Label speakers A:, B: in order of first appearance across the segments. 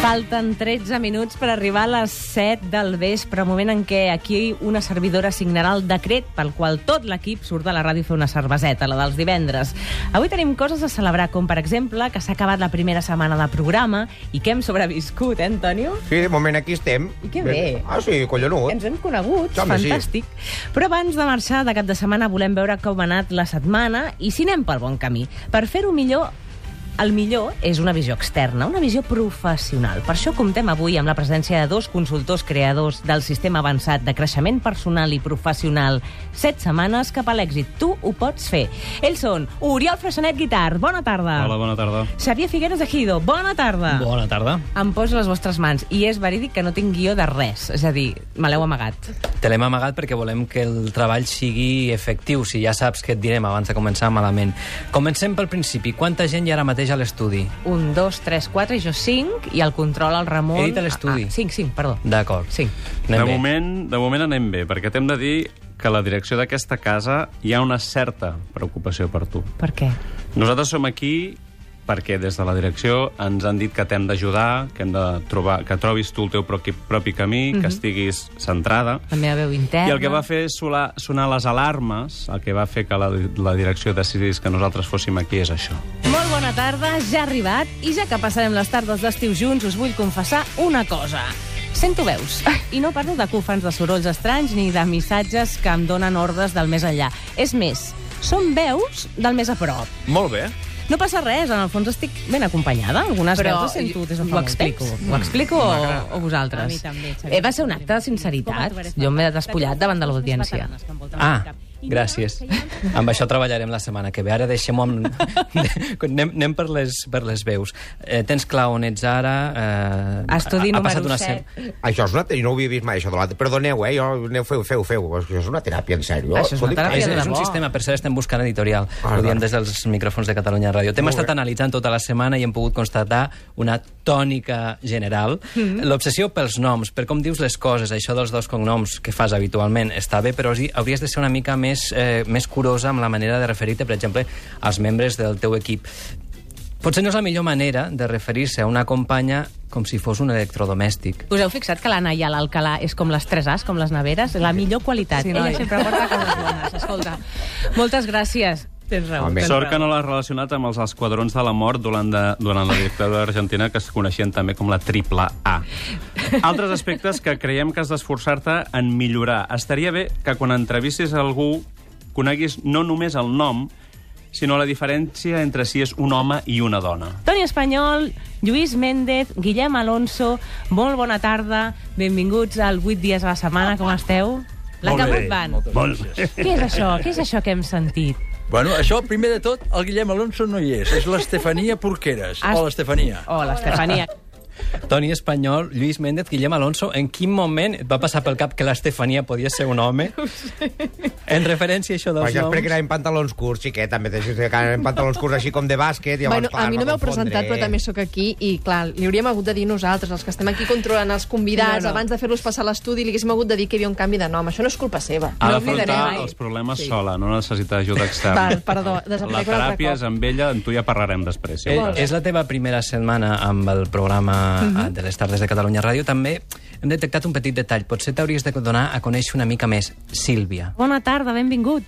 A: Falten 13 minuts per arribar a les 7 del vespre, moment en què aquí una servidora signarà el decret pel qual tot l'equip surt de la ràdio a fer una cerveseta, la dels divendres. Avui tenim coses a celebrar, com per exemple que s'ha acabat la primera setmana de programa i que hem sobreviscut, eh, Antonio?
B: Sí, de moment aquí estem.
A: I que bé.
B: Ah, sí, collonut.
A: Ens hem conegut,
B: Home, sí.
A: fantàstic. Però abans de marxar de cap de setmana volem veure com ha anat la setmana i si anem pel bon camí. Per fer-ho millor, el millor és una visió externa, una visió professional. Per això comptem avui amb la presència de dos consultors creadors del sistema avançat de creixement personal i professional. Set setmanes cap a l'èxit. Tu ho pots fer. Ells són Oriol Freixanet Guitart, bona tarda.
C: Hola, bona tarda.
A: Xavier Figueres Ejido, bona tarda.
C: Bona tarda.
A: Em poso a les vostres mans i és verídic que no tinc guió de res, és a dir, me l'heu amagat.
D: Te l'hem amagat perquè volem que el treball sigui efectiu, si ja saps què et direm abans de començar malament. Comencem pel principi. Quanta gent hi ha ara mateix a l'estudi?
A: Un, dos, tres, quatre, jo cinc, i el control al Ramon...
D: He dit a l'estudi.
A: Ah, cinc, cinc, perdó.
D: D'acord.
A: Cinc.
D: Anem
C: de,
D: bé.
C: moment, de moment anem bé, perquè t'hem de dir que a la direcció d'aquesta casa hi ha una certa preocupació per tu.
A: Per què?
C: Nosaltres som aquí perquè des de la direcció ens han dit que t'hem d'ajudar, que hem de trobar, que trobis tu el teu propi, propi camí, que estiguis centrada.
A: La meva veu interna...
C: I el que va fer solar, sonar les alarmes, el que va fer que la, la direcció decidís que nosaltres fóssim aquí és això.
A: Molt bona tarda, ja ha arribat, i ja que passarem les tardes d'estiu junts, us vull confessar una cosa. Sento veus, i no parlo de cofans de sorolls estranys ni de missatges que em donen ordres del més enllà. És més, són veus del més a prop.
B: Molt bé.
A: No passa res, en el fons estic ben acompanyada. Algunes
E: Però
A: veus les sento
E: jo-
A: des de
E: ho
A: fa molt
E: explico. Mm.
A: temps. Ho explico o, o vosaltres?
E: A mi també, Xavier.
A: eh, va ser un acte de sinceritat. Jo m'he despullat davant de l'audiència.
D: Ah, gràcies. Amb això treballarem la setmana que ve. Ara deixem-ho amb... anem, anem per les, per les veus. Eh, tens clar on ets ara... Eh,
A: Estudi
D: ha, ha
A: número
D: passat una
A: set.
D: sem-
B: Això és una teràpia, no ho havia vist mai, això de l'altre. Perdoneu, eh, jo, aneu, feu, feu, feu. Això és una teràpia, en sèrio.
A: Això és una
B: Escolti,
A: teràpia.
D: És,
A: de
D: és un
A: debò.
D: sistema, per cert, estem buscant editorial.
B: Ah,
D: Ho diem
B: d'acord.
D: des dels micròfons de Catalunya Ràdio. T'hem estat analitzant tota la setmana i hem pogut constatar una tònica general. L'obsessió pels noms, per com dius les coses, això dels dos cognoms que fas habitualment està bé, però sí, hauries de ser una mica més, eh, més curosa amb la manera de referir-te, per exemple, als membres del teu equip. Potser no és la millor manera de referir-se a una companya com si fos un electrodomèstic.
A: Us heu fixat que la Naia l'Alcalà és com les 3 As, com les neveres? La millor qualitat.
E: Sí,
A: Ella
E: noi.
A: sempre porta coses bones, escolta. Moltes gràcies. Tens raó.
B: Home.
C: Sort que no l'has relacionat amb els esquadrons de la mort durant, de, durant la dictadura argentina, que es coneixien també com la triple A. Altres aspectes que creiem que has d'esforçar-te en millorar. Estaria bé que quan entrevistis algú coneguis no només el nom, sinó la diferència entre si és un home i una dona.
A: Toni Espanyol, Lluís Méndez, Guillem Alonso, molt bona tarda, benvinguts al 8 dies a la setmana, com esteu? L'ha acabat van.
F: Molt bé.
A: Què és això? Què és això que hem sentit?
F: Bueno, això, primer de tot, el Guillem Alonso no hi és. És l'Estefania Porqueres.
A: Ah,
F: Hola, Estefania.
A: Hola, Estefania.
D: Toni Espanyol, Lluís Méndez, Guillem Alonso, en quin moment et va passar pel cap que l'Estefania podia ser un home? En referència a això dels
B: Vaja, és perquè
D: noms...
B: anàvem pantalons curts, sí que també deixes que anàvem pantalons curts així com de bàsquet. Llavors,
E: Bueno,
B: clar,
E: a mi no m'heu presentat, però també sóc aquí i, clar, li hauríem hagut de dir nosaltres, els que estem aquí controlant els convidats,
A: No, no.
E: no, no. abans de fer-los passar l'estudi, li haguéssim hagut de dir que hi havia un canvi de nom. Això no és culpa seva.
C: Ha
E: no
C: d'afrontar
E: oblidarem.
C: els problemes sí. sola, no necessita ajuda externa.
E: Val, perdó, desaparec un
C: La
E: altre
C: teràpia
E: cop.
C: és amb ella, amb tu ja parlarem després. Si
D: Eh,
C: vols.
D: és la teva primera setmana amb el programa
A: Mhm.
D: eh, de les tardes de Catalunya Ràdio. També hem detectat un petit detall. Potser t'hauries de donar a conèixer una mica més Sílvia.
A: Bona tarda, benvingut.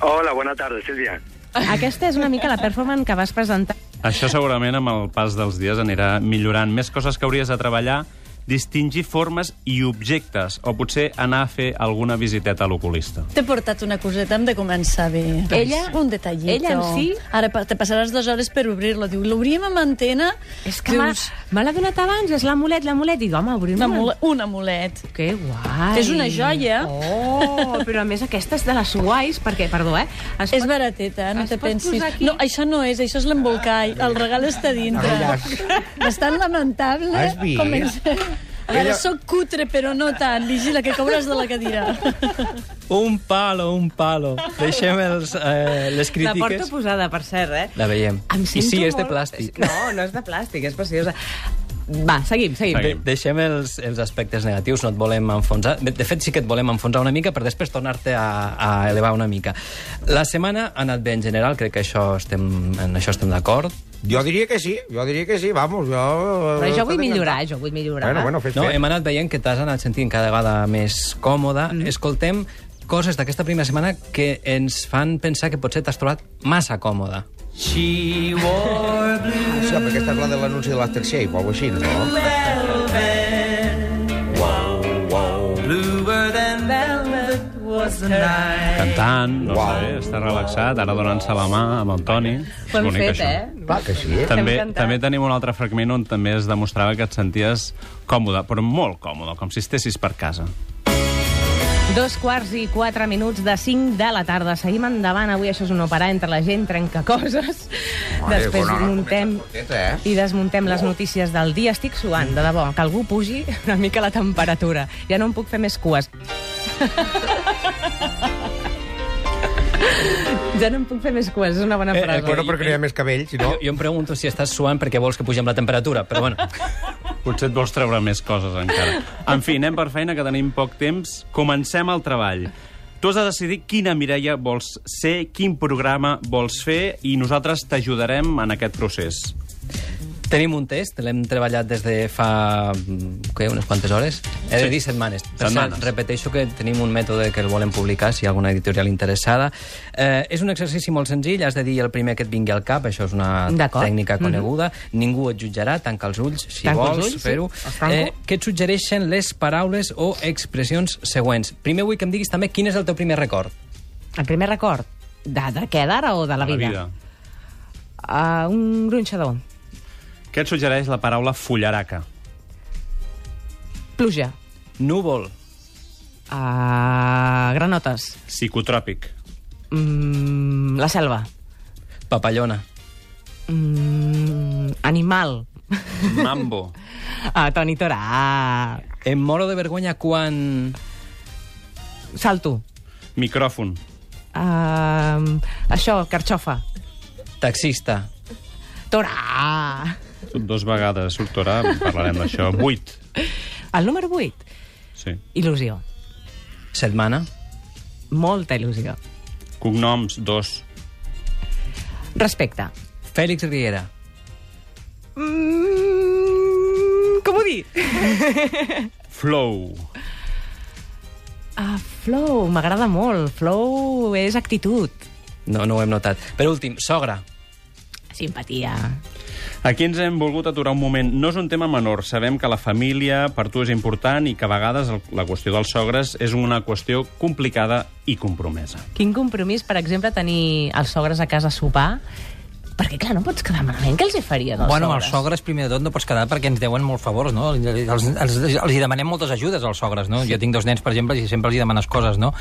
G: Hola, buenas tardes, Silvia.
A: Aquesta és una mica la performance que vas presentar.
C: Això segurament amb el pas dels dies anirà millorant. Més coses que hauries de treballar, distingir formes i objectes, o potser anar a fer alguna visiteta a l'oculista.
H: T'he portat una coseta, hem de començar bé.
A: Ella-
H: Un detallito.
A: Doncs. ella en si-
H: Ara pa- te passaràs dues hores per obrir-lo. Diu, l'obrim amb antena...
A: És que m'ha- me l'ha donat abans, és l'amulet, l'amulet. I dic, home, obrim
H: Un, amule un amulet.
A: Que guai.
H: És una joia.
A: Oh, però a més aquesta és de les guais, perquè, perdó, eh? Es
H: És barateta, no
A: Es
H: te
A: pot
H: pensis.
A: posar aquí?
H: No, això no és, això és l'embolcall. El regal està dintre. Bastant lamentable.
B: Has vist?
H: Comencem. A veure,
B: Ella-
H: sóc cutre, però no tant. Vigila, que cauràs de la cadira.
D: Un palo, un palo. Deixem els, eh, les
A: La porto
D: crítiques.
A: posada, per cert, eh?
D: La veiem.
A: Em
D: I
A: sento
D: sí, és
A: molt...
D: de plàstic.
A: No, no és de plàstic, és preciosa. Va, seguim, seguim.
D: De deixem els, els aspectes negatius, no et volem enfonsar. De, de fet, sí que et volem enfonsar una mica per després tornar-te a, a elevar una mica. La setmana ha anat bé en general, crec que això estem, en això estem d'acord.
B: Jo diria que sí, jo diria que sí, vamos, jo...
A: Però jo vull millorar, jo vull millorar.
B: Bueno, bueno, fes,
D: No,
B: fes.
D: hem anat veient que t'has anat sentint cada vegada més còmode. Mm. Escoltem coses d'aquesta primera setmana que ens fan pensar que potser t'has trobat massa còmode.
B: Ah, Sí, però aquesta és la de l'anunci de l'Aftershave o alguna així, no?
C: Cantant, no
B: Uau.
C: sé, està relaxat, ara donant-se la mà amb el Toni. És
A: Ho hem
C: bonic,
A: fet,
C: això.
A: eh?
B: Clar que sí.
C: També,
A: cantat.
C: també tenim un altre fragment on també es demostrava que et senties còmode, però molt còmode, com si estessis per casa.
A: Dos quarts i quatre minuts de cinc de la tarda. Seguim endavant. Avui això és un operar entre la gent, trenca coses.
B: Mare,
A: Després
B: bona hora,
A: muntem
B: comença forteta, eh?
A: i desmuntem les notícies del dia. Estic suant, de debò, que algú pugi una mica la temperatura. Ja no em puc fer més cues. ja no em puc fer més cues, és una bona
D: Eh, eh,
A: frase.
B: Bueno, perquè no hi ha més cabell, si
D: No.
B: no...
D: Jo, jo em pregunto si estàs suant perquè vols que pugem la temperatura, però bueno.
C: Potser et vols treure més coses encara. En fi, anem per feina, que tenim poc temps. Comencem el treball. Tu has de decidir quina Mireia vols ser, quin programa vols fer, i nosaltres t'ajudarem en aquest procés.
D: Tenim un test, l'hem treballat des de fa mm, què, unes quantes hores? He de
C: Sí.
D: dir setmanes. Per
C: Setmanes.
D: cert, repeteixo que tenim un mètode que el volen publicar si hi ha alguna editorial interessada. Eh, és un exercici molt senzill, has de dir el primer que et vingui al cap, això és una
A: D'acord.
D: tècnica coneguda, ningú et jutjarà, tanca els ulls, si
A: Tanco els
D: vols
A: ulls, sí,
D: fer-ho. Eh,
A: els tanco.
D: què et suggereixen les paraules o expressions següents? Primer vull que em diguis també quin és el teu primer record.
A: El primer record, de, de què, d'ara o de la
C: A
A: vida? Uh, un gronxador.
C: Què et suggereix la paraula fullaraca?
A: Pluja.
D: Núvol,
A: Uh, granotes.
C: Psicotròpic.
A: Mm, la selva.
D: papallona,
A: Mm, animal.
C: Mambo.
A: Ah, Toni Torà. Ah,
D: em moro de vergonya quan...
A: salto.
C: Micròfon.
A: Ah, això, carxofa.
D: Taxista,
A: Torà.
C: Dos vegades surt ara, parlarem d'això. Vuit.
A: El número 8,
C: Sí.
A: il·lusió.
D: setmana,
A: Molta il·lusió.
C: Cognoms, dos.
A: Respecte.
D: Fèlix Riera,
A: Mm, com ho dic?
C: Flow.
A: Ah, flow, m'agrada molt. Flow és actitud,
D: No, no ho hem notat. Per últim, sogra.
A: simpatia.
C: Aquí ens hem volgut aturar un moment. No és un tema menor. Sabem que la família per tu és important i que a vegades el- la qüestió dels sogres és una qüestió complicada i compromesa.
A: Quin compromís, per exemple, tenir els sogres a casa a sopar? Perquè, clar, no pots quedar malament. Què els hi faria, dels
I: Bueno, amb els
A: sogres?
I: sogres, primer de tot, no pots quedar perquè ens deuen molts favors, no? Els, els, els hi demanem moltes ajudes, als sogres, no? Jo tinc dos nens, per exemple, i sempre els hi demanes coses, no?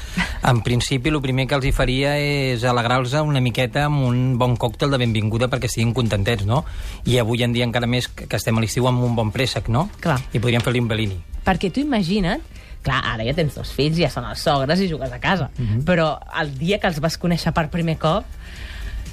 I: En principi, el primer que els hi faria és alegrar-los una miqueta amb un bon còctel de benvinguda perquè estiguin contentets, no? I avui en dia encara més que que estem a l'estiu amb un bon préssec, no?
A: Clar.
I: I podríem fer-li un Bellini.
A: Perquè tu imagina't, clar, ara ja tens dos fills, ja són els sogres i jugues a casa,
D: Mhm.
A: però el dia que els vas conèixer per primer cop,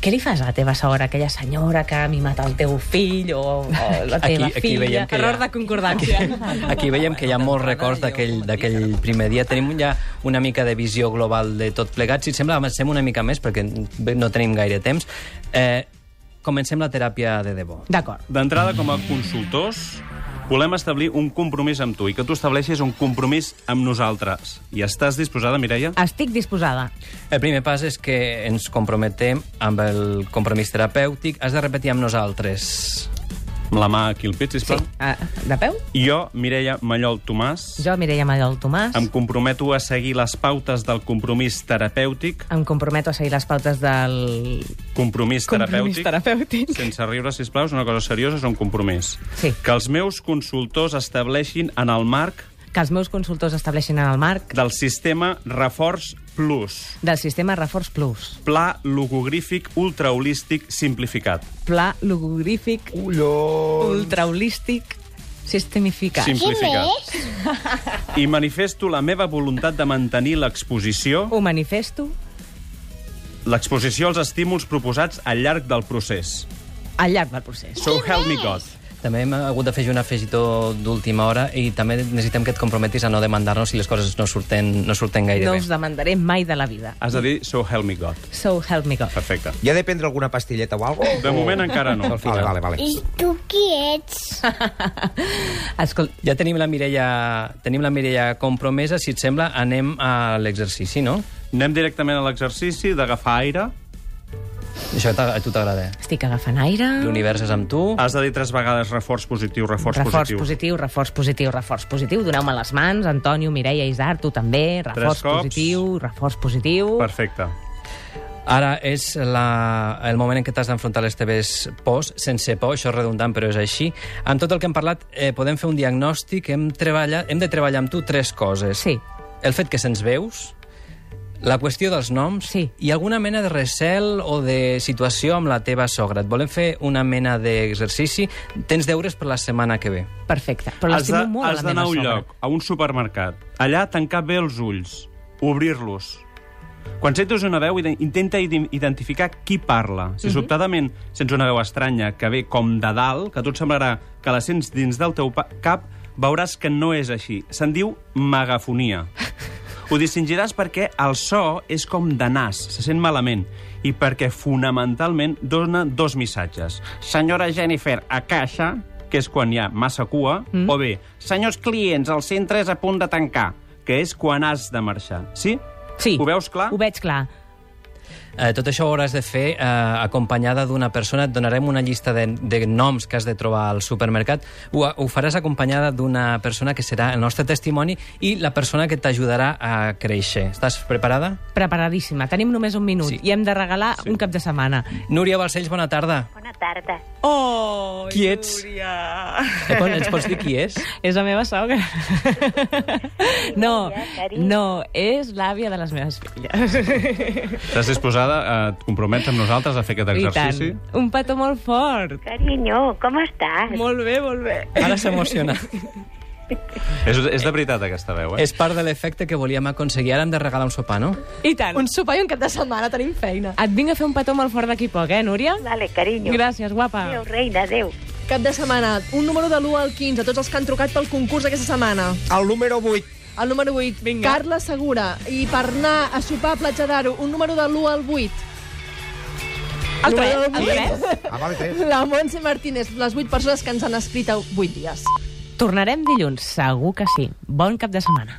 A: què li fas a la teva sogra, aquella senyora que ha mimat el teu fill o, o la
D: Aquí-
A: teva
D: aquí
A: filla?
D: veiem que hi ha-
A: Error de concordància.
D: Aquí veiem que hi ha molts records d'aquell d'aquell primer dia. Tenim ja una mica de visió global de tot plegat. Si et sembla, avancem una mica més perquè bé, no tenim gaire temps. Eh, comencem la teràpia de debò.
A: D'acord.
C: D'entrada, com a consultors, volem establir un compromís amb tu i que tu estableixis un compromís amb nosaltres. I estàs disposada, Mireia?
A: Estic disposada.
D: El primer pas és que ens comprometem amb el compromís terapèutic. Has de repetir amb nosaltres.
C: Amb la mà aquí al pit,
A: Sí.
C: sisplau.
A: Ah, de peu?
C: Jo, Mireia Mallol Tomàs,
A: Jo, Mireia Mallol Tomàs,
C: em
A: em...
C: comprometo a seguir les pautes del compromís terapèutic.
A: em comprometo a seguir les pautes del compromís
C: Compromís terapèutic.
A: terapèutic.
C: Sense riure, sisplau, és una cosa seriosa, és un compromís.
A: Sí.
C: Que els meus consultors estableixin en el marc
A: Que els meus consultors estableixin en el marc
C: del sistema Reforç Plus,
A: del sistema Reforç Plus.
C: pla logogrífic ultraholístic simplificat.
A: pla logorífic ultraholístic sistemificat.
C: Simplificat. I manifesto la meva voluntat de mantenir l'exposició
A: Ho manifesto l'exposició
C: l'exposició als estímuls proposats al llarg del procés.
A: al llarg del procés.
C: So help me God.
D: També hem hagut de fer un afegitó d'última hora i també necessitem que et comprometis a no demandar-nos si les coses no surten, no surten gaire
A: No
D: bé.
A: us demandaré mai de la vida.
C: Has de dir So Help Me God.
A: So help me God.
C: Perfecte.
B: Ja de prendre alguna pastilleta o alguna cosa?
C: De moment encara no.
B: Vale, Ah, vale, vale.
J: tu qui ets?
A: Escolta,
D: Ja tenim la Mireia, tenim la Mireia compromesa. Si et sembla, anem a l'exercici, no?
C: Anem directament a l'exercici d'agafar aire.
D: Això t'a- a tu t'agrada. eh?
A: estic agafant aire.
D: L'univers és amb tu.
C: Has de dir tres vegades reforç positiu, reforç,
A: Reforç
C: positiu.
A: positiu, reforç positiu, reforç positiu. Doneu-me les mans, Antonio, Mireia, Isar, tu també. Reforç
C: cops.
A: positiu, reforç positiu.
C: Perfecte.
D: Ara és la, el moment en què t'has d'enfrontar a les teves pors, sense por, això és redundant, però és així. Amb tot el que hem parlat, eh, podem fer un diagnòstic, hem, treballat, hem de treballar amb tu tres coses.
A: Sí.
D: El fet que se'ns veus, la qüestió dels noms
A: Sí.
D: i alguna mena de recel o de situació amb la teva sogra. Et volem fer una mena d'exercici. Tens deures per la setmana que ve.
A: Perfecte. Però
C: Has de-
A: l'estimo molt,
C: has
A: a la meva
C: d'anar a un
A: sogra.
C: lloc, a un supermercat. Allà, tancar bé els ulls, obrir-los. Quan sentis una veu, ide- intenta ide- identificar qui parla.
A: Mhm.
C: Si sobtadament sents una veu estranya que ve com de dalt, que a tu et semblarà que la sents dins del teu pa- cap, veuràs que no és així. Se'n diu megafonia. Ho distingiràs perquè el so és com de nas, se sent malament, i perquè fonamentalment dona dos missatges. Senyora Jennifer, a caixa, que és quan hi ha massa cua, mm. o bé, senyors clients, el centre és a punt de tancar, que és quan has de marxar. Sí?
A: Sí.
C: Ho veus clar?
A: Ho veig clar.
D: Eh, tot això ho hauràs de fer eh, acompanyada d'una persona. Et donarem una llista de, de noms que has de trobar al supermercat. Ho, ho faràs acompanyada d'una persona que serà el nostre testimoni i la persona que t'ajudarà a créixer. Estàs preparada?
A: Preparadíssima. Tenim només un minut
D: Sí.
A: i hem de regalar sí. un cap de setmana.
D: Núria Balcells, bona tarda.
J: Bona tarda.
A: Oh,
D: Qui ets?
A: Núria!
D: Eh, pon- Ens pots dir qui és?
A: És la meva sogra. No,
J: Núria, carinyo.
A: no, és l'àvia de les meves filles.
C: Estàs disposada? Eh, Et compromets amb nosaltres a fer aquest
A: I tant.
C: exercici?
A: Un petó molt fort.
J: Carinyo, com estàs?
A: Molt bé, molt bé.
D: Ara s'emociona.
C: És, és de veritat, aquesta veu, eh?
D: És part de l'efecte que volíem aconseguir. Ara hem de regalar un sopar, no?
A: I tant.
E: Un sopar i un cap de setmana, tenim feina.
A: Et vinc a fer un petó molt fort d'aquí poc, eh, Núria?
J: Vale, carinyo.
A: Gràcies, guapa.
J: Adéu, reina, adéu.
E: Cap de setmana, un número de l'1 al 15, tots els que han trucat pel concurs aquesta setmana.
B: El número 8.
E: El número 8, Vinga. Carla Segura. I per anar a sopar a Platja d'Aro, un número de l'1 al 8.
A: El 3,
E: Número
A: el 3.
B: Ah, vale, tres.
E: La Montse Martínez, les 8 persones que ens han escrit a 8 dies.
A: Tornarem dilluns, segur que sí. Bon cap de setmana.